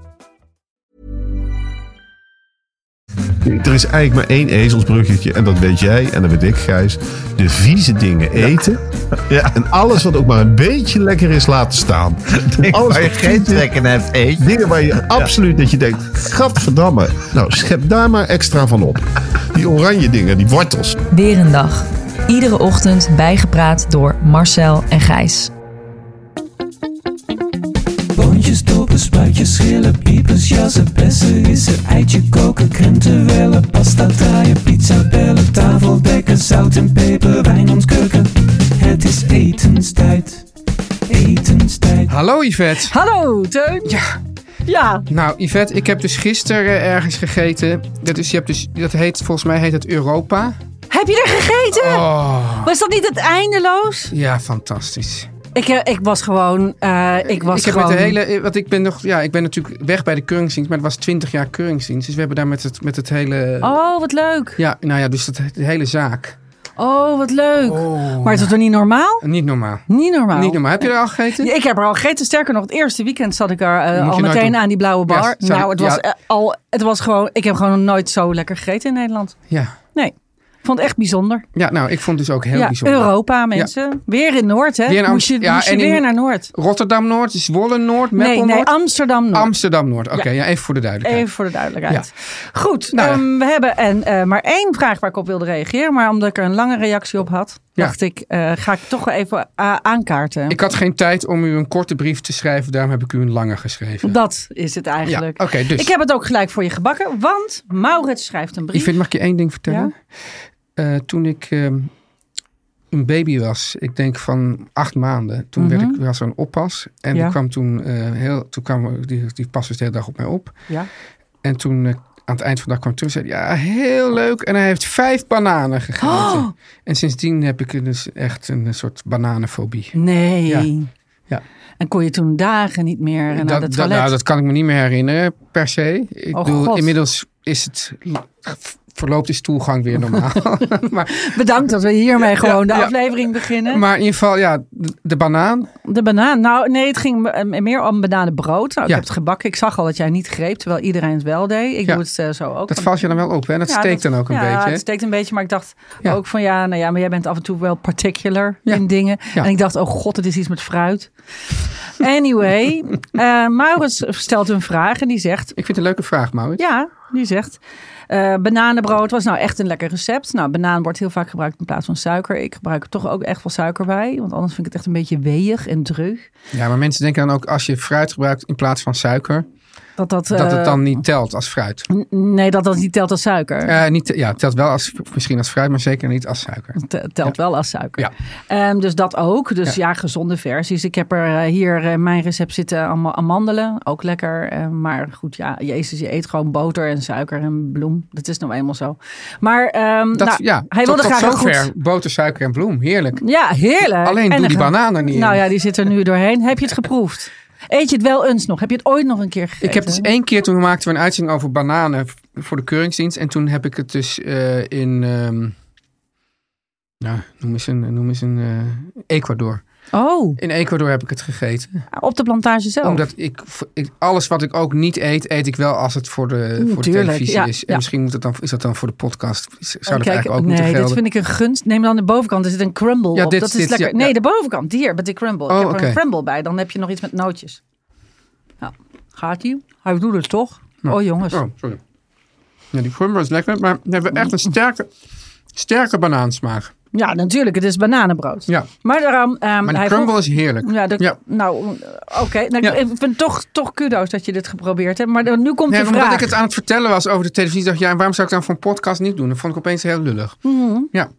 Er is eigenlijk maar één ezelsbruggetje en dat weet jij en dat weet ik, Gijs. De vieze dingen eten. Ja. En alles wat ook maar een beetje lekker is laten staan. alles Waar je wat geen vies is, trek in hebt, eet je. Dingen waar je absoluut dat je denkt, gadverdamme. Nou, schep daar maar extra van op. Die oranje dingen, die wortels. Weer een dag. Iedere ochtend bijgepraat door Marcel en Gijs. Boontjes, dopen, spuitjes, schillen, piepers, jassen, bessen, rissen, eitje koken, krenten, wellen, pasta draaien, pizza bellen, tafel dekken, zout en peper, wijn ontkurken. Het is etenstijd, etenstijd. Hallo Yvette. Hallo, Nou, Teun. Ja. Ja, Nou Yvette, ik heb dus gisteren ergens gegeten. Dat, is, je hebt dus, dat heet, volgens mij heet het Europa. heb je er gegeten? Oh, Was dat niet het eindeloos? ja, fantastisch. Ik, eh, ik was gewoon... eh, ik was ik heb gewoon... met de hele, eh, want ik ben nog, ja, ik ben natuurlijk weg bij de keuringsdienst, maar het was 20 jaar keuringsdienst. Dus we hebben daar met het, met het hele, Oh, wat leuk. ja, nou ja, dus dat, de hele zaak. Oh, wat leuk. Oh. Maar is dat toch niet normaal? Niet normaal. Niet normaal. Niet normaal. Heb je er al gegeten? Ja, Ik heb er al gegeten. Sterker nog, het eerste weekend zat ik er eh, je al nooit meteen doen. aan die blauwe Ja, bar. zou- nou, het was, ja. eh, al, het was gewoon... Ik heb gewoon nog nooit zo lekker gegeten in Nederland. Ja. Nee, ik vond het echt bijzonder. Ja, nou, ik vond het dus ook heel ja, bijzonder. Europa, mensen. Weer in Noord, hè? Weer in Am- moest je, ja, moest je en in- weer naar Noord. Rotterdam-Noord, Zwolle-Noord, Nee, Meppel-Noord. nee, Amsterdam-Noord. Amsterdam-Noord. Oké, ja. even voor de duidelijkheid. Even voor de duidelijkheid. Goed, Nou ja. ehm, we hebben en, eh, maar één vraag waar ik op wilde reageren. Maar omdat ik er een lange reactie op had, Ja. dacht ik, eh, ga ik toch wel even a- aankaarten. Ik had geen tijd om u een korte brief te schrijven, daarom heb ik u een lange geschreven. Dat is het ja, eigenlijk. oké, dus. Ik heb het ook gelijk voor je gebakken, want Maurits schrijft een brief. Yvette, mag ik je één ding vertellen? Eh, toen ik ehm, een baby was, ik denk van acht maanden, toen werd ik, was er een oppas. En Mhm. Ja. die kwam toen, eh, heel, toen kwam, die, die pas dus de hele dag op mij op. Ja. En toen eh, aan het eind van de dag kwam ik terug en zei hij, ja, heel leuk. En hij heeft vijf bananen gegeten. Oh! En sindsdien heb ik dus echt een soort bananenfobie. Nee. Ja. Ja. En kon je toen dagen niet meer eh, naar dat, de dat- toilet. nou, dat kan ik me niet meer herinneren, per se. Ik Oh, bedoel, God. inmiddels is het, verloopt de stoelgang weer normaal. maar, Bedankt dat we hiermee gewoon de ja. aflevering beginnen. maar in ieder geval, ja, de, de banaan. De banaan. Nou, nee, het ging eh, meer om bananenbrood. Nou, ik Ja. heb het gebakken. Ik zag al dat jij niet greep, terwijl iedereen het wel deed. Ik Ja. doe het eh, zo ook. Dat valt je dan wel op, hè? Dat steekt dan ook een ja, beetje. hè? het steekt een beetje, maar ik dacht Ja. ook van ja, nou ja, maar jij bent af en toe wel particular Ja. in dingen. Ja. En ik dacht, oh god, het is iets met fruit. Anyway, eh Maurits stelt een vraag en die zegt, Ik vind het een leuke vraag, Maurits. ja, die zegt, eh, bananenbrood was nou echt een lekker recept. Nou, banaan wordt heel vaak gebruikt in plaats van suiker. Ik gebruik er toch ook echt wel suiker bij, want anders vind ik het echt een beetje weeg en dreug. Ja, maar mensen denken dan ook, als je fruit gebruikt in plaats van suiker, Dat, dat, dat eh, het dan niet telt als fruit. N- Nee, dat dat niet telt als suiker. Eh, niet, ja, het telt wel als, misschien als fruit, maar zeker niet als suiker. Het, eh, telt wel als suiker. Ja. Ehm, dus dat ook. Dus ja, gezonde versies. Ik heb er eh, hier eh, in mijn recept zitten allemaal amandelen. Ook lekker. Eh, maar goed, ja, Jezus, je eet gewoon boter en suiker en bloem. Dat is nou eenmaal zo. Maar ehm, Dat, nou, ja, hij tot, wilde tot graag een zover. goed... Boter, suiker en bloem. Heerlijk. Ja, heerlijk. Alleen En doe een die ge- banaan er niet Nou in. ja, die zit er nu doorheen. Heb je het geproefd? Eet je het wel eens nog? Heb je het ooit nog een keer gegeten? Ik heb dus één keer, toen maakten we een uitzending over bananen v- voor de keuringsdienst. En toen heb ik het dus eh, in, ehm, nou, noem eens een, noem eens een eh, Ecuador. Oh, In Ecuador heb ik het gegeten. op de plantage zelf. Omdat ik, ik, alles wat ik ook niet eet, eet ik wel als het voor de, voor de Mm, tuurlijk, televisie ja, is. En ja. Oh, misschien moet het dan, is dat dan voor de podcast. Zou dat Kijk, eigenlijk ook nee, moeten dit gelden? vind ik een gunst. Neem dan de bovenkant. Er zit een crumble Ja, op. dit- dat is dit, lekker. ja, nee, ja. de bovenkant. Hier, met die crumble. Oh, ik heb er oké. een crumble bij. Dan heb je nog iets met nootjes. Gaat hij? Hij doet het toch? Oh jongens. Oh, sorry. Ja, die vorm was lekker, maar we hebben echt een Mm. sterke, sterke banaansmaak. Ja, natuurlijk. Het is bananenbrood. Ja, Maar daarom... ehm, maar de hij crumble vroeg- is heerlijk. Ja, dat- Ja. nou, oké. Nou, Ja. Ik vind toch, toch kudo's dat je dit geprobeerd hebt. Maar dan- nu komt Nee, de omdat vraag. ik het aan het vertellen was over de televisie, dacht ik, ja, waarom zou ik dan voor een podcast niet doen? Dat vond ik opeens heel lullig. Mm. Ja,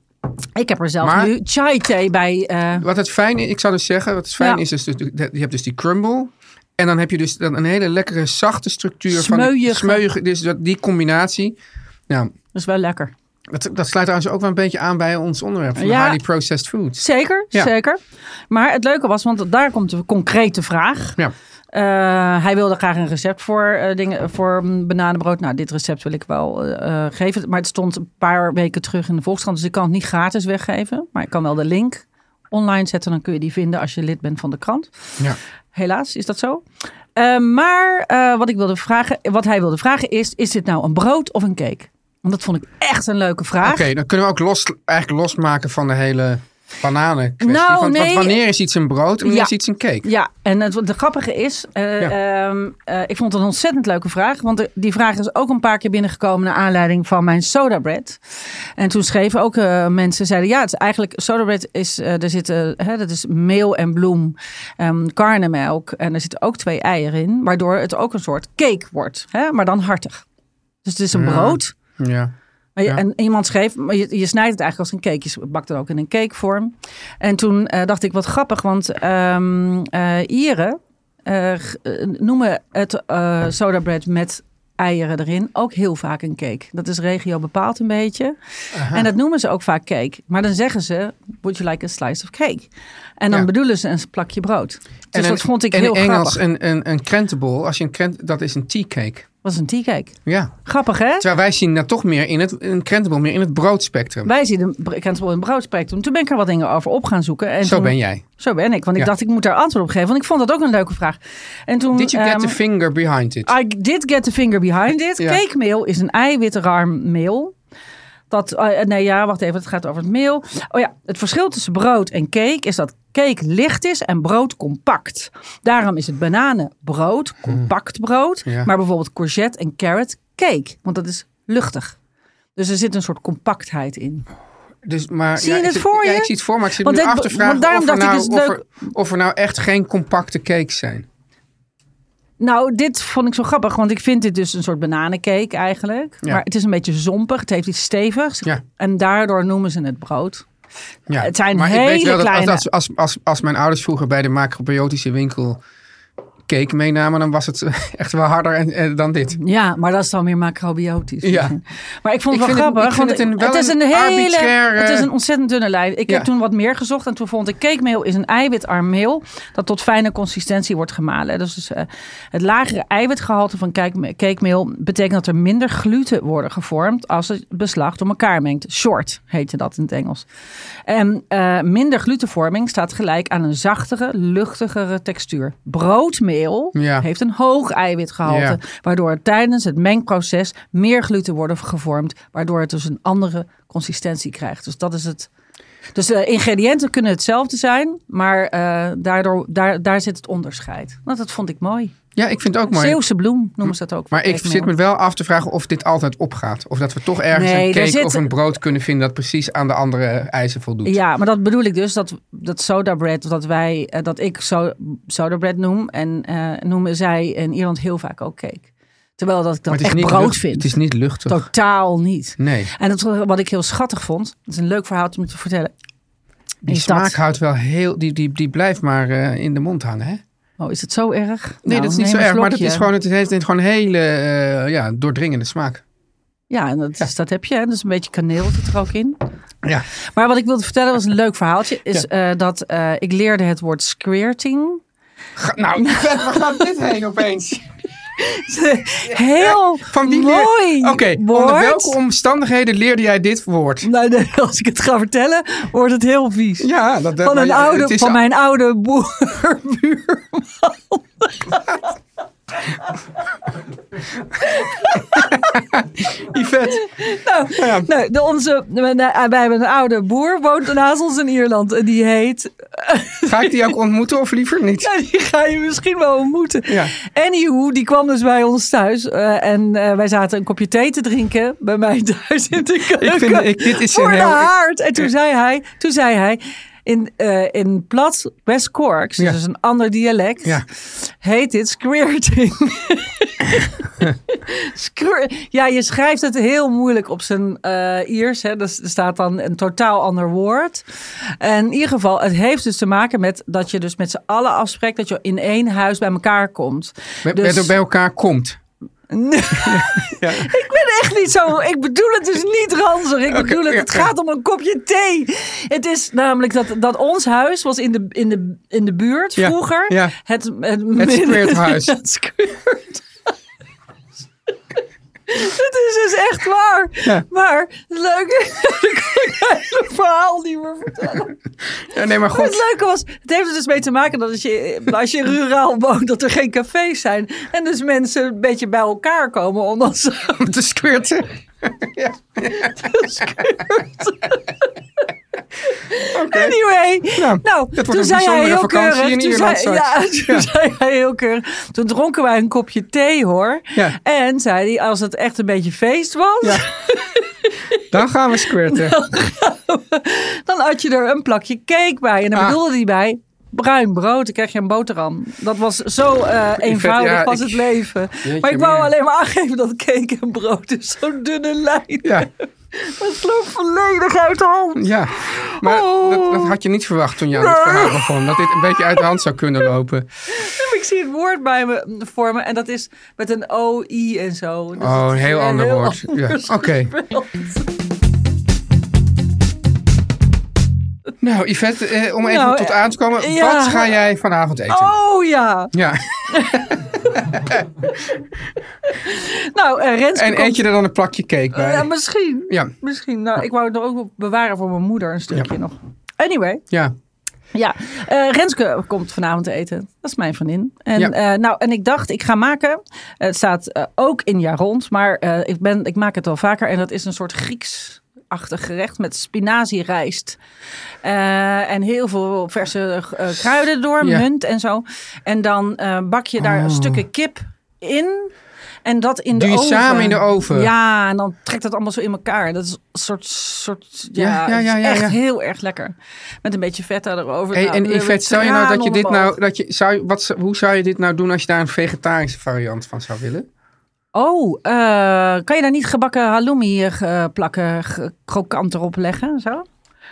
Ik heb er zelf Maar- nu chai thee bij. eh, wat het fijn is, ik zou dus zeggen, wat het fijn Ja. is, is dus, de- de- je hebt dus die crumble. En dan heb je dus dan een hele lekkere zachte structuur van die Smeuïge. smeuïge, dus dat, die combinatie. Nou, dat is wel lekker. dat, dat sluit trouwens ook wel een beetje aan bij ons onderwerp van Ja. highly processed foods. Zeker, Ja. zeker. Maar het leuke was, want daar komt de concrete vraag. Ja. Eh, hij wilde graag een recept voor, eh, dingen, voor mm, bananenbrood. Nou, dit recept wil ik wel eh, eh, geven. Maar het stond een paar weken terug in de Volkskrant. Dus ik kan het niet gratis weggeven. Maar ik kan wel de link online zetten. Dan kun je die vinden als je lid bent van de krant. Ja. Helaas is dat zo. Eh, maar eh, wat, ik wilde vragen, wat hij wilde vragen is, is dit nou een brood of een cake? Want dat vond ik echt een leuke vraag. Oké, dan kunnen we ook los, eigenlijk losmaken van de hele bananen kwestie. Nou, want, want nee. wanneer is iets een brood en wanneer Ja. is iets een cake? Ja, en het, de grappige is, eh, ehm, eh, ik vond het een ontzettend leuke vraag. Want er- die vraag is ook een paar keer binnengekomen naar aanleiding van mijn soda bread. En toen schreven ook eh, mensen, zeiden ja, het is eigenlijk, soda bread is, eh, er zitten, hè, dat is meel en bloem, ehm karnemelk. En er zitten ook twee eieren in, waardoor het ook een soort cake wordt. Hè, maar dan hartig. Dus het is een brood. Ja. Maar je- Ja. En iemand schreef, maar je, je snijdt het eigenlijk als een cake. Je bakt het ook in een cakevorm. En toen eh, dacht ik, wat grappig, want ehm, eh, Ieren eh, g- eh, noemen het eh soda bread met eieren erin ook heel vaak een cake. Dat is regio bepaald een beetje. En dat noemen ze ook vaak cake. Maar dan zeggen ze, would you like a slice of cake? En dan Ja. bedoelen ze een plakje brood. Dus dat vond ik en heel in Engels grappig. een, een, een krentenbol, als je een krent, dat is een tea cake. was een tea cake. Ja. Grappig hè? Terwijl wij zien dat toch meer in het, een krentenbol, meer in het broodspectrum. Wij zien de br- krentenbol in broodspectrum. Toen ben ik er wat dingen over op gaan zoeken. En Zo toen- Mm, ben jij. Zo ben ik, want ik Ja. dacht ik moet daar antwoord op geven. Want ik vond dat ook een leuke vraag. En toen, Did you get ehm, the finger behind it? I did get the finger behind it. Ja. Cakemeel is een eiwitarm meel. Dat, eh, nee, ja, wacht even, het gaat over het meel. Oh ja, het verschil tussen brood en cake is dat cake licht is en brood compact. Daarom is het bananenbrood compact brood. Hmm. Ja. Maar bijvoorbeeld courgette en carrot cake, want dat is luchtig. Dus er zit een soort compactheid in. Dus, maar, Zie je ik het zit- voor Ja, je? ik zie het voor, maar ik zit Want nu dit- af te vragen want daarom of, er dacht ik, nou, is het of, er, of er nou echt geen compacte cakes zijn. Nou, dit vond ik zo grappig, want ik vind dit dus een soort bananencake eigenlijk. Ja. Maar het is een beetje zompig, het heeft iets stevigs. Ja. En daardoor noemen ze het brood. Ja, Het zijn maar ik weet hele wel dat als- kleine- als, als, als, als mijn ouders vroeger bij de macrobiotische winkel cake meenamen, dan was het echt wel harder en, en dan dit. Ja, maar dat is dan meer macrobiotisch. Ja. Maar ik vond Ik het wel vind het- grappig, ik vind want het een- wel is een een hele, arbitraire- het is een ontzettend dunne lijn. Ik Ja. heb toen wat meer gezocht en toen vond ik cakemeel is een eiwitarm meel dat tot fijne consistentie wordt gemalen. Dus, dus, eh, het lagere eiwitgehalte van cake- cakemeel betekent dat er minder gluten worden gevormd als het beslag door elkaar mengt. Short heette dat in het Engels. En eh, minder glutenvorming staat gelijk aan een zachtere, luchtigere textuur. Broodmeel Ja. heeft een hoog eiwitgehalte, Ja. waardoor er tijdens het mengproces meer gluten worden gevormd, waardoor het dus een andere consistentie krijgt. Dus dat is het. Dus de ingrediënten kunnen hetzelfde zijn, maar eh, daardoor, daar, daar zit het onderscheid. Nou, dat vond ik mooi. Ja, ik vind het ook mooi. Zeeuwse bloem noemen ze dat ook. Maar ik Kijk, zit me Mel. wel af te vragen of dit altijd opgaat. Of dat we toch ergens Nee, een daar cake zit- of een brood kunnen vinden dat precies aan de andere eisen voldoet. Ja, maar dat bedoel ik dus, dat, dat soda bread, dat, wij, eh, dat ik so, soda bread noem. En eh, noemen zij in Ierland heel vaak ook cake. Terwijl dat Maar ik dat het is echt niet brood lucht- vind. Het is niet luchtig. Totaal niet. Nee. En dat, wat ik heel schattig vond, dat is een leuk verhaal om te vertellen. Die is smaak dat- houdt wel heel... Die, die, die blijft maar eh, in de mond hangen, hè? Oh, is het zo erg? Nee, Nou, dat is niet neem zo een erg. Maar dat slokje. is gewoon, het heeft gewoon een hele eh, ja, doordringende smaak. Ja, en dat, is- dat heb je. hè. Dus een beetje kaneel zit er ook in. Ja. Maar wat ik wilde vertellen was een leuk verhaaltje. Is eh, dat eh, ik leerde het woord squirting. Ga- nou, waar gaat dit heen opeens? Heel Van die leer- mooi Oké, woord. onder welke omstandigheden leerde jij dit woord? Nou, nee, als ik het ga vertellen, wordt het heel vies. Ja, dat, dat- van een maar het oude, is van al- mijn oude boerbuurman. Yvette. Nou, de, onze, wij hebben een oude boer, woont naast ons in Ierland. En die heet Ga ik die ook ontmoeten of liever niet? Ja, die ga je misschien wel ontmoeten. Ja. Anywho, die kwam dus bij ons thuis. eh, en eh, wij zaten een kopje thee te drinken bij mij thuis in de keuken. vind- ik- dit is een voor de heel- haard. En toen zei hij, toen zei hij in, eh in plat West-Corks, Ja. dus een ander dialect, Ja. heet dit squirting. Squir- ja, je schrijft het heel moeilijk op zijn eh, Iers. Hè. Dus Er staat dan een totaal ander woord. En in ieder geval, het heeft dus te maken met dat je dus met z'n allen afspreekt dat je in één huis bij elkaar komt. Bij, Dus- bij- bij elkaar komt. Ik ben echt niet zo. Ik bedoel het dus niet ranzig. Ik bedoel het. Het gaat om een kopje thee. Het is namelijk dat, dat ons huis was in de, in de, in de buurt Ja, vroeger. ja. Het, het, squirthuis. Het squirthuis. Het is dus echt waar. Maar het leuke. Ik kan het hele verhaal niet meer vertellen. Ja, nee, maar Maar het goed. leuke was, het heeft er dus mee te maken dat als je, als je ruraal woont, dat er geen cafés zijn. En dus mensen een beetje bij elkaar komen om dan samen Om te squirten. Anyway, Nou, nou, dat wordt toen een zei hij bijzondere vakantie heel keurig. in toen Ierland zei, straks. ja, toen zei hij heel keurig. Toen dronken wij een kopje thee hoor. Ja. En zei hij, als het echt een beetje feest was, Dan gaan we squirten. dan had je er een plakje cake bij. En dan Ah. bedoelde hij bij bruin brood. Dan kreeg je een boterham. Dat was zo eh, eenvoudig ja, was ik- het leven. Jeetje, maar ik wou meer. alleen maar aangeven dat cake en brood is zo'n dunne lijn. Ja, Dat sloeg volledig uit de hand. ja. Maar Oh. dat, dat had je niet verwacht toen je aan dit Nee. verhaal begon. Dat dit een beetje uit de hand zou kunnen lopen. Ik zie het woord bij me voor me en dat is met een O, I en zo. Dus Oh, het een is heel weer ander woord. ander Ja, oké. spel. Nou, Yvette, eh, om even Nou, tot eh, aan te komen. ja. Wat ga jij vanavond eten? Oh ja. Ja, Nou, eh Renske en komt- eet je er dan een plakje cake bij? Ja, misschien. Ja. Misschien. Nou, ik wou het nog ook bewaren voor mijn moeder een stukje Ja. nog. Anyway, Ja, ja. Eh, Renske komt vanavond eten. Dat is mijn vriendin. En, Ja. eh, nou, en ik dacht, ik ga maken. Het staat eh, ook in jaar rond, maar eh, ik, ben, ik maak het wel vaker. En dat is een soort Grieks achtig gerecht met spinazierijst. Eh, en heel veel verse eh, kruiden door, Ja. Oh. munt en zo. En dan eh, bak je daar stukken kip in. En dat in de Doe je oven. samen in de oven? Ja, en dan trekt dat allemaal zo in elkaar. Dat is een soort, soort ja, ja, ja, ja, echt ja. heel erg lekker. Met een beetje vet erover. Hey, Nou, en dan hebben Yvette, we zou je nou tranen dat je dit onder mijn nou, dat je, zou, je- wat, zou- hoe zou je dit nou doen als je daar een vegetarische variant van zou willen? ogen. Oh, eh, kan je daar niet gebakken halloumi eh, ge- plakken, ge- krokant erop leggen? Zo?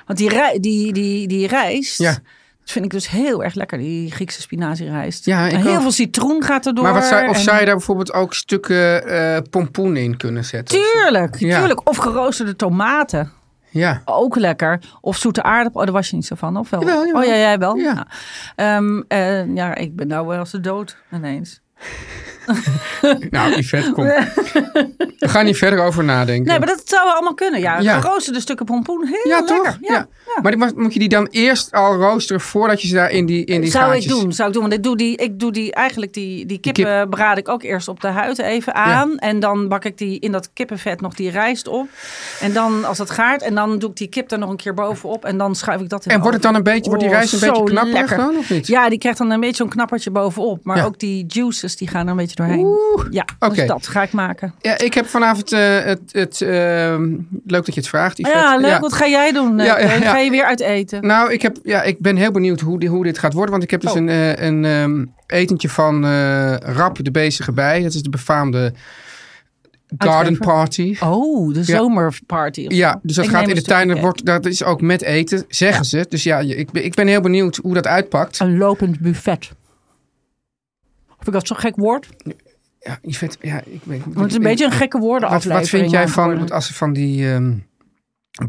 Want die, rij, die, die, die rijst, Ja. dat vind ik dus heel erg lekker. Die Griekse spinazierijst. Ja, ik En heel ook. veel citroen gaat erdoor. maar wat zou, of en- zou je daar bijvoorbeeld ook stukken eh, pompoen in kunnen zetten? Tuurlijk, Ja. tuurlijk. Of geroosterde tomaten. Ja. Ook lekker. Of zoete aardappelen. Oh, daar was je niet zo van, of wel? Jawel, jawel. Oh ja, jij wel? Ja. Nou, ehm, eh, ja, ik ben nou wel als de dood ineens. Nou, Yvette, kom. We gaan niet verder over nadenken. Nee, maar dat zou wel allemaal kunnen. Ja, Ja. geroosterde stukken pompoen. Heel ja, lekker. toch? Ja. Maar die moet- moet je die dan eerst al roosteren voordat je ze daar in die, in die zou ik gaatjes- doen, zou ik doen. Want ik doe die, ik doe die eigenlijk die, die kip. kippen braad ik ook eerst op de huid even aan. En dan bak ik die in dat kippenvet nog die rijst op. En dan als dat gaart, en dan doe ik die kip er nog een keer bovenop. En dan schuif ik dat in. En de wordt het dan oven. een beetje, wordt die Oh, rijst een zo beetje knapperig lekker. dan, of niet? Ja, die krijgt dan een beetje zo'n knappertje bovenop. Maar Ja. ook die juices, die gaan er een beetje doorheen. ja, oké. dus dat ga ik maken. Ja, ik heb vanavond eh, het, het ehm, leuk dat je het vraagt, Yvette. Ah ja, leuk. Wat ga jij doen? Ja, ja, eh, Teun? ja. Ga je weer uit eten? Nou, ik, heb, ja, ik ben heel benieuwd hoe, di- hoe dit gaat worden. Want ik heb dus Oh. een, eh, een ehm, etentje van eh, Rap de Bezige Bij. Dat is de befaamde garden Uitgever. party. Oh, de Ja. zomerparty. of Ja, zo. dus dat Ik gaat neem in de een tuin. stukje Dat, wordt, dat is ook met eten, zeggen ze. Dus ja, je- ik ben, ik ben heel benieuwd hoe dat uitpakt. Een lopend buffet. Vind ik dat zo'n gek woord? Want Ja, Yvette, ja, ik ben... het is een beetje een gekke wat, woordenaflevering. wat vind jij aan het van worden. als ze van die ehm,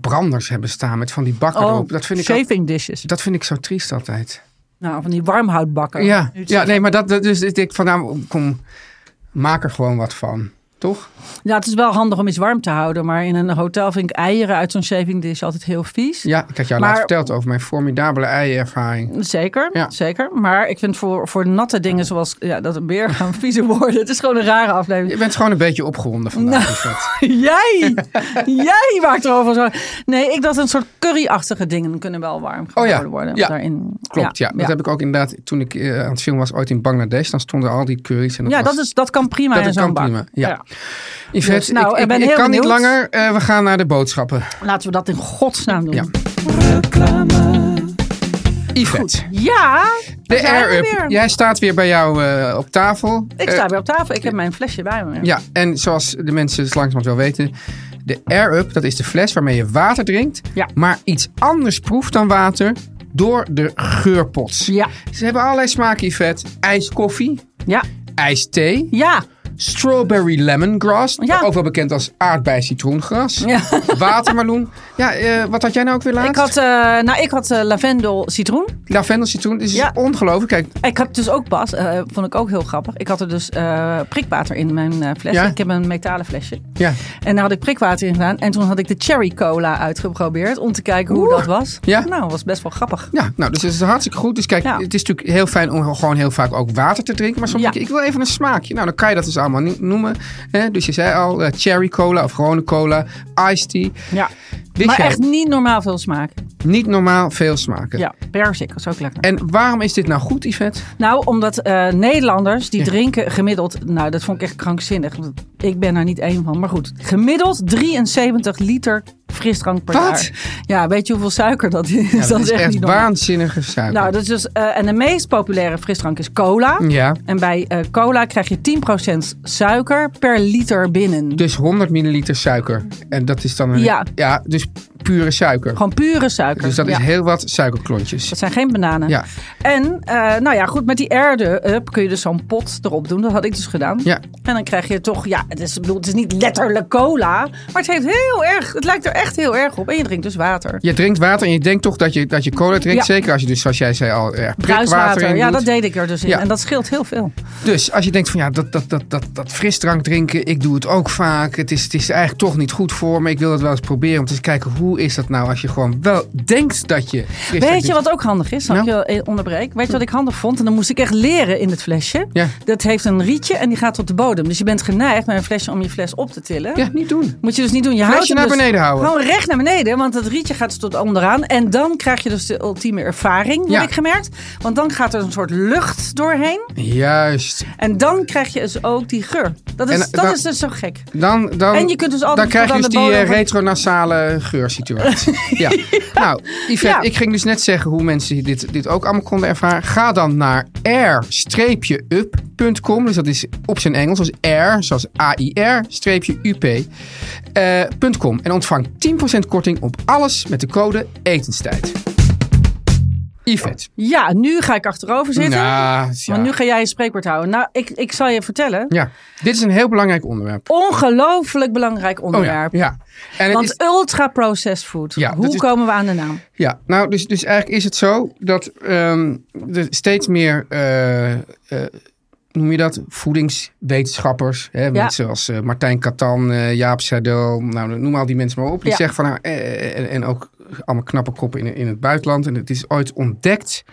branders hebben staan met van die bakken Oh, erop? Dat vind, ik al- shaving dishes. dat vind ik zo triest altijd. Nou, van die warmhoutbakken. Ja, Nu het ja zo- nee, maar dat, dat- dus ik denk van nou, kom, maak er gewoon wat van. Toch? Nou, het is wel handig om iets warm te houden. Maar in een hotel vind ik eieren uit zo'n shaving dish altijd heel vies. Ja, ik had jou Maar- laatst verteld over mijn formidabele eiervaring. Zeker, Ja. zeker. Maar ik vind voor, voor natte dingen zoals ja, dat een beer gaan viezer worden. Het is gewoon een rare aflevering. Je bent gewoon een beetje opgewonden vandaag. Nou, is dat. Jij! Jij maakt erover zo. Nee, ik dacht een soort curryachtige dingen kunnen wel warm Oh ja. gehouden worden. Ja. Daarin. Klopt, ja. Dat heb ik ook inderdaad, toen ik eh, aan het filmen was ooit in Bangladesh, dan stonden al die curry's. En dat Ja, was- dat, is, dat kan prima dat in kan zo'n bak. prima, ja. Ja. Yvette, Dus, nou, ik, ik ik, ben ik heel kan niet benieuwd. langer. Eh, we gaan naar de boodschappen. Laten we dat in godsnaam doen. Ja. Ja, Yvette, daar de zijn we air-up. weer. Jij staat weer bij jou eh, op tafel. Ik Eh, sta weer op tafel. Ik heb mijn flesje bij me. Ja, en zoals de mensen het langzamerhand wel weten, de air-up, dat is de fles waarmee je water drinkt, Ja. maar iets anders proeft dan water door de geurpots. Ja. Ze hebben allerlei smaken, Yvette. IJskoffie, Ja. ijsthee, Ja. strawberry lemongrass, Ja. ook wel bekend als aardbei-citroengrass, Ja. watermeloen. Ja, eh, wat had jij nou ook weer laatst? Ik had, eh, nou, ik had eh, lavendel citroen. Lavendelcitroen, dit is Ja. ongelooflijk. Kijk, Ik had dus ook pas, eh, vond ik ook heel grappig. Ik had er dus eh, prikwater in mijn eh, flesje. Ja. Ik heb een metalen flesje. ja. En daar had ik prikwater in gedaan. En toen had ik de cherry cola uitgeprobeerd om te kijken hoe dat was. Ja. Nou, was best wel grappig. Ja, nou, dus het is hartstikke goed. Dus kijk, Ja. het is natuurlijk heel fijn om gewoon heel vaak ook water te drinken. Maar soms Nou. Ja. denk je, ik wil even een smaakje. Nou, dan kan je dat dus allemaal niet noemen. hè. dus je zei al, eh, cherry cola of gewone cola, iced tea. Ja. Wist Maar jij, echt niet normaal veel smaak. niet normaal veel smaken. Ja, persik was ook lekker. En waarom is dit nou goed, Yvette? Nou, omdat eh, Nederlanders die Ja. drinken gemiddeld. Nou, dat vond ik echt krankzinnig. Want Ik ben er niet één van. Maar goed, gemiddeld 73 liter frisdrank per Wat? jaar. Ja, weet je hoeveel suiker dat is? Ja, dat is echt niet normaal. waanzinnige suiker. Nou, dat is dus, eh, en de meest populaire frisdrank is cola. Ja, En bij eh, cola krijg je 10% suiker per liter binnen. dus 100 milliliter suiker. En dat is dan een... Ja. dus pure suiker. Gewoon pure suiker. Dus dat is Ja. heel wat suikerklontjes. Dat zijn geen bananen. Ja. En, eh, nou ja, goed, met die airde-up kun je dus zo'n pot erop doen. Dat had ik dus gedaan. Ja. En dan krijg je toch, ja, het is, ik bedoel, het is niet letterlijk cola. Maar het heeft heel erg, het lijkt er echt heel erg op. En je drinkt dus water. Je drinkt water en je denkt toch dat je, dat je cola drinkt. Ja. Zeker als je dus, zoals jij zei al, eh, prikwater Bruiswater. in Ja, doet. dat deed ik er dus in. Ja. En dat scheelt heel veel. Dus als je denkt van ja, dat, dat, dat, dat, dat frisdrank drinken, ik doe het ook vaak. Het is, het is eigenlijk toch niet goed voor me. Ik wil het wel eens proberen om te eens kijken hoe is dat nou als je gewoon wel denkt dat Nou? je frisdrank Weet je drinkt. wat ook handig is? Zal ik je wel eh, onderbreek? Weet je wat ik handig vond? En dan moest ik echt leren in het flesje. Ja. Dat heeft een rietje en die gaat tot de bodem. Dus je bent geneigd met een flesje om je fles op te tillen. Ja, niet doen. Moet je dus niet doen. Je Flesje houdt hem naar dus beneden houden. Gewoon recht naar beneden, want dat rietje gaat dus tot onderaan. En dan krijg je dus de ultieme ervaring, heb Ja. ik gemerkt. Want dan gaat er een soort lucht doorheen. Juist. En dan krijg je dus ook die geur. Dat is, En, eh, dat dan- is dus zo gek. Dan, dan, En je kunt dus altijd dan tot krijg je aan dus de die bodem eh, van- retronasale geursituatie. ja. Nou, Yvette, Ja. ik ging dus net zeggen hoe mensen dit, dit ook allemaal konden ervaren. Ga dan naar air-up.com. Dus dat is op zijn Engels, dus air, zoals A-I-R-up.com. eh, en ontvang 10% korting op alles met de code etenstijd. Yvette. Ja, nu ga ik achterover zitten. Nou, ja. Maar nu ga jij je spreekwoord houden. Nou, ik, ik zal je vertellen. ja, dit is een heel belangrijk onderwerp. Ongelooflijk belangrijk Oh ja, onderwerp. ja. En het Want is- ultra processed food. Ja, dat Hoe is- komen we aan de naam? Ja, nou, dus, dus eigenlijk is het zo dat ehm, er steeds meer, eh, eh, noem je dat, voedingswetenschappers, hè, mensen als eh, Martijn Katan, eh, Jaap Serdel, nou, noem al die mensen maar op, die Ja. zeggen van, nou, eh, en, en ook allemaal knappe koppen in, in het buitenland, en het is ooit ontdekt.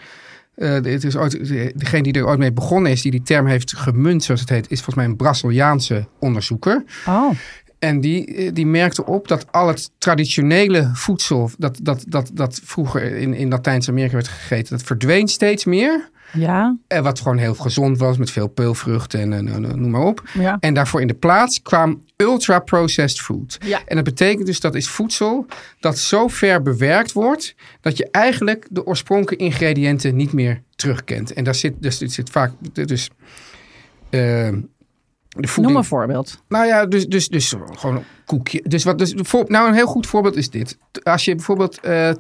eh, het is ooit, degene die er ooit mee begonnen is, die die term heeft gemunt, zoals het heet, is volgens mij een Braziliaanse onderzoeker. Oh, En die, eh, die merkte op dat al het traditionele voedsel dat, dat, dat, dat vroeger in, in Latijns-Amerika werd gegeten, dat verdween steeds meer. ja. En wat gewoon heel gezond was met veel peulvruchten en eh, nou, nou, noem maar op. Ja. En daarvoor in de plaats kwam ultra-processed food. Ja. En dat betekent dus dat is voedsel dat zo ver bewerkt wordt dat je eigenlijk de oorspronkelijke ingrediënten niet meer terugkent. En daar zit, dus, dit zit vaak dus, eh, de Noem voeding een voorbeeld. nou ja, dus, dus, dus gewoon een koekje. Dus wat, dus, voor- nou, een heel goed voorbeeld is dit. Als je bijvoorbeeld eh,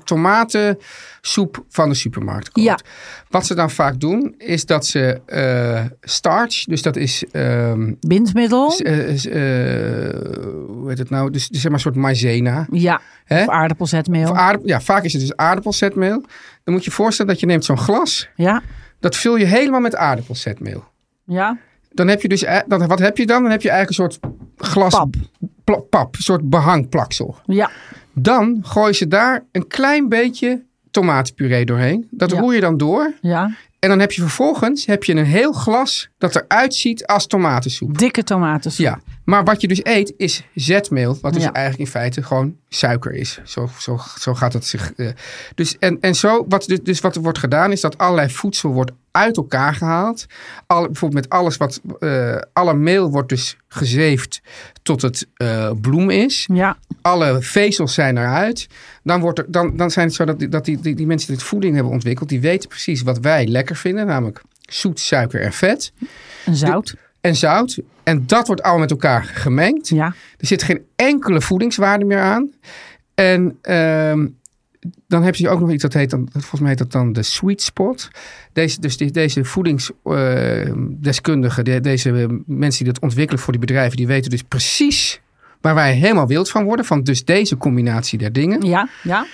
tomatensoep van de supermarkt koopt. Ja. Wat ze dan vaak doen, is dat ze eh, starch, dus dat is... ehm, Bindmiddel. s- eh, s- eh, hoe heet het nou? Dus, dus zeg maar een soort maizena. Ja. Hè? Of aardappelzetmeel. Of aardappel- ja, vaak is het dus aardappelzetmeel. Dan moet je je voorstellen dat je neemt zo'n glas. ja. Dat vul je helemaal met aardappelzetmeel. Ja. Dan heb je dus, eh, dan, wat heb je dan? Dan heb je eigenlijk een soort glas Pap. pla- pap, een soort behangplaksel. Ja, Dan gooi je daar een klein beetje tomatenpuree doorheen. Dat Ja. roer je dan door. ja. En dan heb je vervolgens heb je een heel glas dat eruit ziet als tomatensoep. Dikke tomatensoep. Ja, maar wat je dus eet is zetmeel, wat dus Ja. eigenlijk in feite gewoon suiker is. Zo, zo, zo gaat het zich. eh, dus, en, en zo, wat, dus- dus wat er wordt gedaan is dat allerlei voedsel wordt uit elkaar gehaald. Al, bijvoorbeeld met alles wat, eh, alle meel wordt dus gezeefd tot het eh, bloem is Ja, alle vezels zijn eruit. Dan, wordt er, dan, dan zijn het zo dat, die- dat die, die, die mensen die dit voeding hebben ontwikkeld, die weten precies wat wij lekker vinden, namelijk zoet, suiker en vet en zout. en zout. En dat wordt allemaal met elkaar gemengd. Ja. Er zit geen enkele voedingswaarde meer aan. En ehm, dan heb je ook nog iets dat heet, dan, volgens mij heet dat dan de sweet spot. Deze, dus die- deze voedingsdeskundigen, deze mensen die dat ontwikkelen voor die bedrijven, die weten dus precies waar wij helemaal wild van worden. Van dus deze combinatie der dingen. Ja, ja.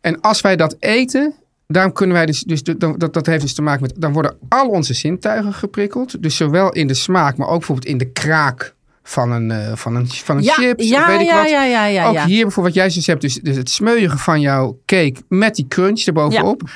En als wij dat eten, daarom kunnen wij dus, dus de- dan- dat, dat heeft dus te maken met, dan worden al onze zintuigen geprikkeld. Dus zowel in de smaak, maar ook bijvoorbeeld in de kraak van een, eh, van een, van een ja, chips. ja, of weet ik ja, wat. ja, ja, ja, ook ja. hier bijvoorbeeld wat jij dus hebt, dus, dus het smeuigen van jouw cake met die crunch erbovenop.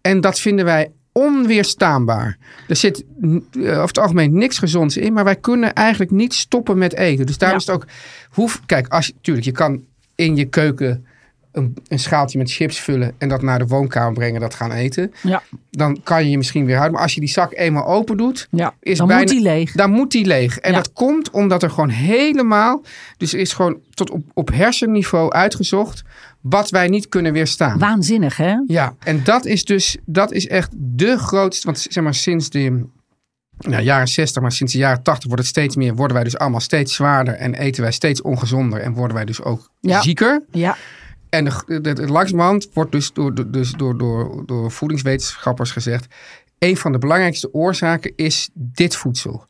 En dat vinden wij onweerstaanbaar. Er zit n- eh, over het algemeen niks gezonds in, maar wij kunnen eigenlijk niet stoppen met eten. Dus daarom Ja. is het ook, hoef, kijk, als, je- tuurlijk, je kan in je keuken een, een schaaltje met chips vullen en dat naar de woonkamer brengen, dat gaan eten. Ja, Dan kan je je misschien weer houden. Maar als je die zak eenmaal open doet, ja. Is dan bijna- moet die leeg. dan moet die leeg. En Ja. dat komt omdat er gewoon helemaal, dus er is gewoon tot op, op hersenniveau uitgezocht wat wij niet kunnen weerstaan. Waanzinnig, hè? Ja, en dat is dus, dat is echt de grootste, want zeg maar sinds de nou, jaren 60, maar sinds de jaren 80 wordt het steeds meer, worden wij dus allemaal steeds zwaarder en eten wij steeds ongezonder en worden wij dus ook Ja. zieker. Ja, En de, de, de- langzamerhand wordt dus door, door- dus door, door, door voedingswetenschappers gezegd... een van de belangrijkste oorzaken is dit voedsel.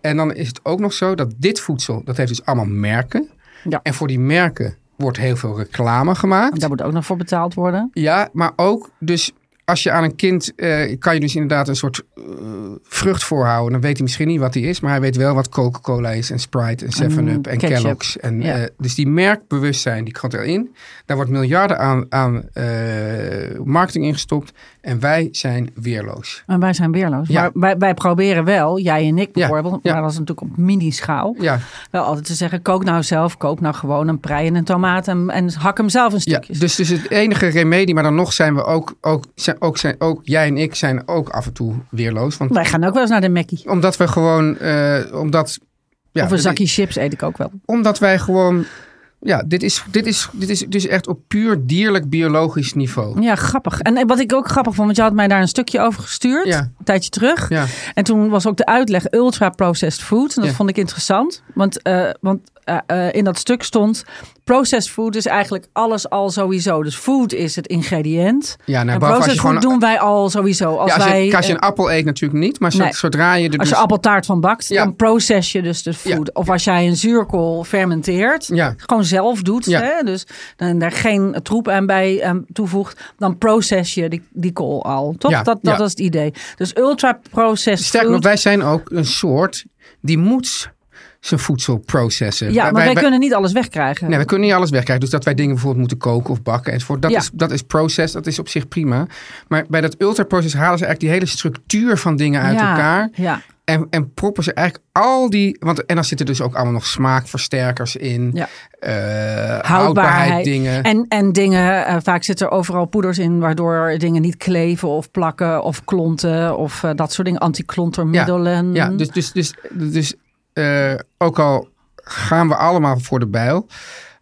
En dan is het ook nog zo dat dit voedsel, dat heeft dus allemaal merken. Ja. En voor die merken wordt heel veel reclame gemaakt. daar moet ook nog voor betaald worden. Ja, maar ook dus als je aan een kind eh, kan je dus inderdaad een soort eh, vrucht voorhouden. Dan weet hij misschien niet wat die is, maar hij weet wel wat Coca-Cola is en Sprite en Seven Up en ketchup. Kellogg's. En, Ja. eh, dus die merkbewustzijn die komt erin. Daar wordt miljarden aan, aan eh, marketing ingestopt en wij zijn weerloos. En wij zijn weerloos. Ja. Maar wij, wij proberen wel, jij en ik bijvoorbeeld, ja. maar dat is natuurlijk op mini-schaal. Ja, Wel altijd te zeggen, kook nou zelf, koop nou gewoon een prei en een tomaat en, en hak hem zelf in ja. stukjes. Dus, dus het enige remedie, maar dan nog zijn we ook, ook, zijn, ook, zijn, ook jij en ik zijn ook af en toe weerloos. Want Wij gaan ook wel eens naar de Mackie. omdat we gewoon, eh, omdat... Ja, of een dat is- zakje chips eet ik ook wel. Omdat wij gewoon. Ja, dit is, dit is, dit is dus echt op puur dierlijk biologisch niveau. Ja, grappig. En eh, wat ik ook grappig vond, want je had mij daar een stukje over gestuurd, Ja. een tijdje terug. Ja, En toen was ook de uitleg ultra processed food. En dat Ja. vond ik interessant. Want, eh, want eh, eh, in dat stuk stond, processed food is eigenlijk alles al sowieso. Dus food is het ingrediënt. ja nou, en behalve als je processed gewoon. food doen wij al sowieso. Als, ja, als, je, wij, als je eh, een appel eet, natuurlijk niet. Maar zo- Nee. zodra je er. Als je dus- appeltaart van bakt, Ja. dan process je dus de food. Of als jij een zuurkool fermenteert, Ja. gewoon zelf doet, Ja. hè? dus dan daar geen troep aan bij ehm, toevoegt, dan process je die, die kool al. Toch? Ja, Dat, dat ja. was het idee. Dus ultra processed Sterker nog, food. wij zijn ook een soort die moet zijn voedsel processen. ja, maar wij, wij, kunnen niet alles wegkrijgen. Nee, we kunnen niet alles wegkrijgen. Dus dat wij dingen bijvoorbeeld moeten koken of bakken enzovoort. Dat, Ja. is, dat is proces, dat is op zich prima. Maar bij dat ultraproces halen ze eigenlijk die hele structuur van dingen uit Ja, elkaar. Ja, En, en proppen ze eigenlijk al die. Want, en dan zitten dus ook allemaal nog smaakversterkers in. Ja. eh, houdbaarheid. houdbaarheid dingen. En, en dingen, eh, vaak zitten er overal poeders in, waardoor dingen niet kleven of plakken of klonten of eh, dat soort dingen. Antiklontermiddelen. ja, dus, dus, dus, dus eh, ook al gaan we allemaal voor de bijl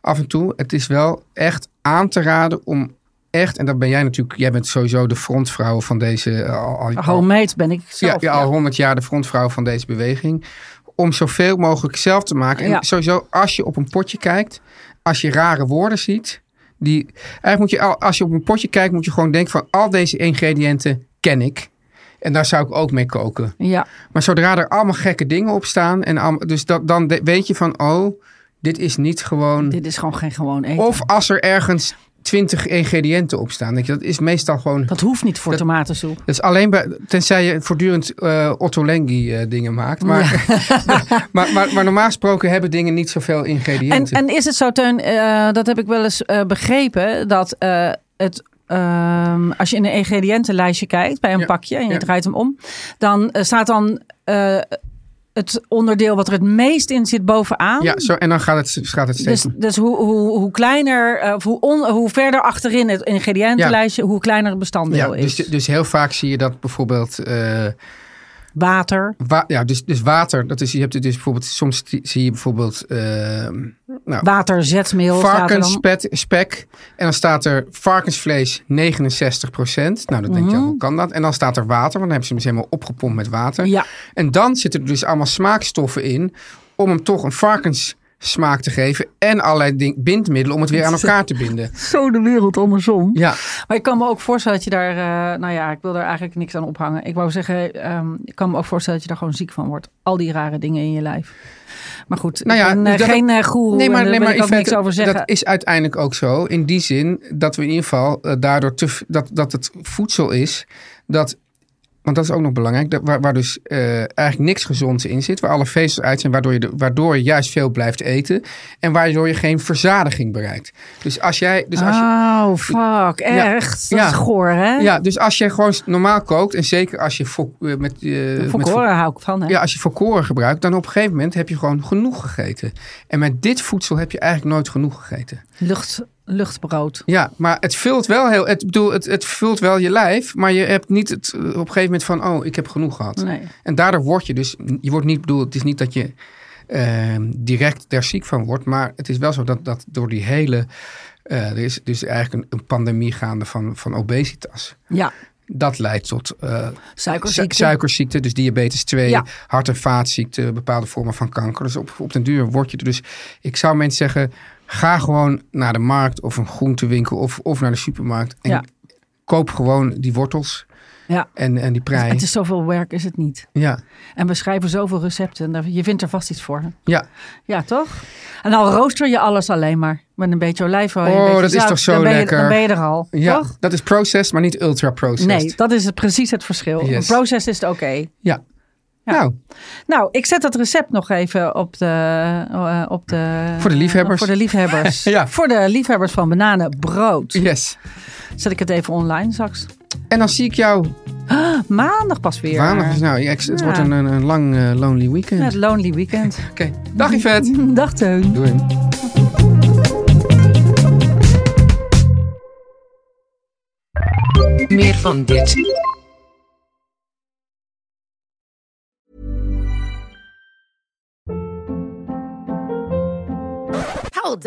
af en toe, het is wel echt aan te raden om echt, en dat ben jij natuurlijk, jij bent sowieso de frontvrouw van deze, eh, al, al, al- Homemade ben ik ja, zelf. ja, al 100 jaar de frontvrouw van deze beweging, om zoveel mogelijk zelf te maken. En Ja. sowieso, als je op een potje kijkt, als je rare woorden ziet, die, eigenlijk moet je, al- als je op een potje kijkt, moet je gewoon denken van al deze ingrediënten ken ik. En daar zou ik ook mee koken. ja. Maar zodra er allemaal gekke dingen op staan, en allemaal- dus dat, dan de- weet je van, oh, dit is niet gewoon. Dit is gewoon geen gewoon eten. Of als er ergens twintig ingrediënten op staan. Denk je, dat is meestal gewoon... Dat hoeft niet voor Dat- tomatensoep. Dat is Dus alleen bij, tenzij je voortdurend eh Otto Lengi eh, dingen maakt. Maar, maar, maar, maar normaal gesproken hebben dingen niet zoveel En, ingrediënten. en is het zo, Teun, eh, dat heb ik wel eens eh, begrepen, dat eh, het, ehm, als je in een ingrediëntenlijstje kijkt bij een Ja, pakje en je ja. draait hem om, dan eh, staat dan eh, het onderdeel wat er het meest in zit bovenaan. ja, zo, en dan gaat het, gaat het steeds... Dus, dus hoe, hoe, hoe kleiner, eh, of hoe, on- hoe verder achterin het ingrediëntenlijstje, hoe kleiner het ja, bestanddeel dus, is. dus heel vaak zie je dat bijvoorbeeld... eh, Water. wa- ja, dus, dus water, dat is, je hebt het dus bijvoorbeeld... Soms ti- zie je bijvoorbeeld eh, nou, Waterzetmeel. staat er dan. varkensspek. spek, En dan staat er varkensvlees 69%. Nou, dan denk Mhm. je, hoe kan dat? En dan staat er water, want dan hebben ze hem dus helemaal opgepompt met water. Ja. En dan zitten er dus allemaal smaakstoffen in om hem toch een varkenssmaak te geven. En allerlei ding, bindmiddelen om het weer aan elkaar te binden. Zo de wereld andersom. Ja, Maar ik kan me ook voorstellen dat je daar, eh, nou ja, ik wil daar eigenlijk niks aan ophangen. Ik wou zeggen, ehm, ik kan me ook voorstellen dat je daar gewoon ziek van wordt. Al die rare dingen in je lijf. Maar goed, Nou ja, ik ben eh, dat- geen eh, goeroe nee, maar, en daar nee, wil maar ik ook Yvette, niks over zeggen. dat is uiteindelijk ook zo. In die zin dat we in ieder geval eh, daardoor te, v- dat, dat het voedsel is dat. Want dat is ook nog belangrijk, dat, waar, waar dus eh, eigenlijk niks gezonds in zit, waar alle vezels uit zijn, waardoor je, de- waardoor je juist veel blijft eten en waardoor je geen verzadiging bereikt. Dus als jij, dus als je, Oh, fuck, echt? Dat ja. is goor, hè? Ja, dus als je gewoon s- normaal kookt en zeker als je vo- eh, met, eh, met vo- Volkoren hou ik van, hè? ja, als je volkoren gebruikt, dan op een gegeven moment heb je gewoon genoeg gegeten. En met dit voedsel heb je eigenlijk nooit genoeg gegeten. Lucht, luchtbrood. Ja, maar het vult wel heel, het, bedoel, het, het vult wel je lijf, maar je hebt niet het, eh, op een gegeven moment van, oh, ik heb genoeg gehad. Nee. En daardoor word je dus, je wordt niet bedoeld, het is niet dat je ehm, direct daar ziek van wordt, maar het is wel zo dat, dat door die hele, eh, er is dus eigenlijk een, een pandemie gaande van, van obesitas. Ja, Dat leidt tot eh, suikerziekte. Su- suikerziekte, dus diabetes 2, Ja. hart- en vaatziekte, bepaalde vormen van kanker. Dus op, op den duur word je er. Dus ik zou mensen zeggen, ga gewoon naar de markt of een groentewinkel of, of naar de supermarkt. En Ja. koop gewoon die wortels Ja. Dus en, en die prei. Het is zoveel werk, is het niet. Ja, En we schrijven zoveel recepten. en daar- Je vindt er vast iets voor. hè? ja. Ja, toch? En dan rooster je alles alleen maar. Met een beetje olijfolie. Oh, een beetje dat is zout, toch zo dan ben je- lekker. dan ben je er al. ja. Toch? dat is processed, maar niet ultra-processed. Nee, dat is het, precies het verschil. Yes. Een proces is het oké. Ja. Ja. Nou, Nou, ik zet dat recept nog even op de, eh, op de... Voor de liefhebbers. Voor de liefhebbers. Ja. Voor de liefhebbers van bananenbrood. yes. Zet ik het even online straks. Ah, En dan zie ik jou Maandag pas weer. maandag. Dus Nou, ja, ik- het Ja. wordt een, een, een lang, eh, lonely weekend. Het lonely weekend. Oké, dag Yvette. Dag Teun. Doei. Meer van dit. Hold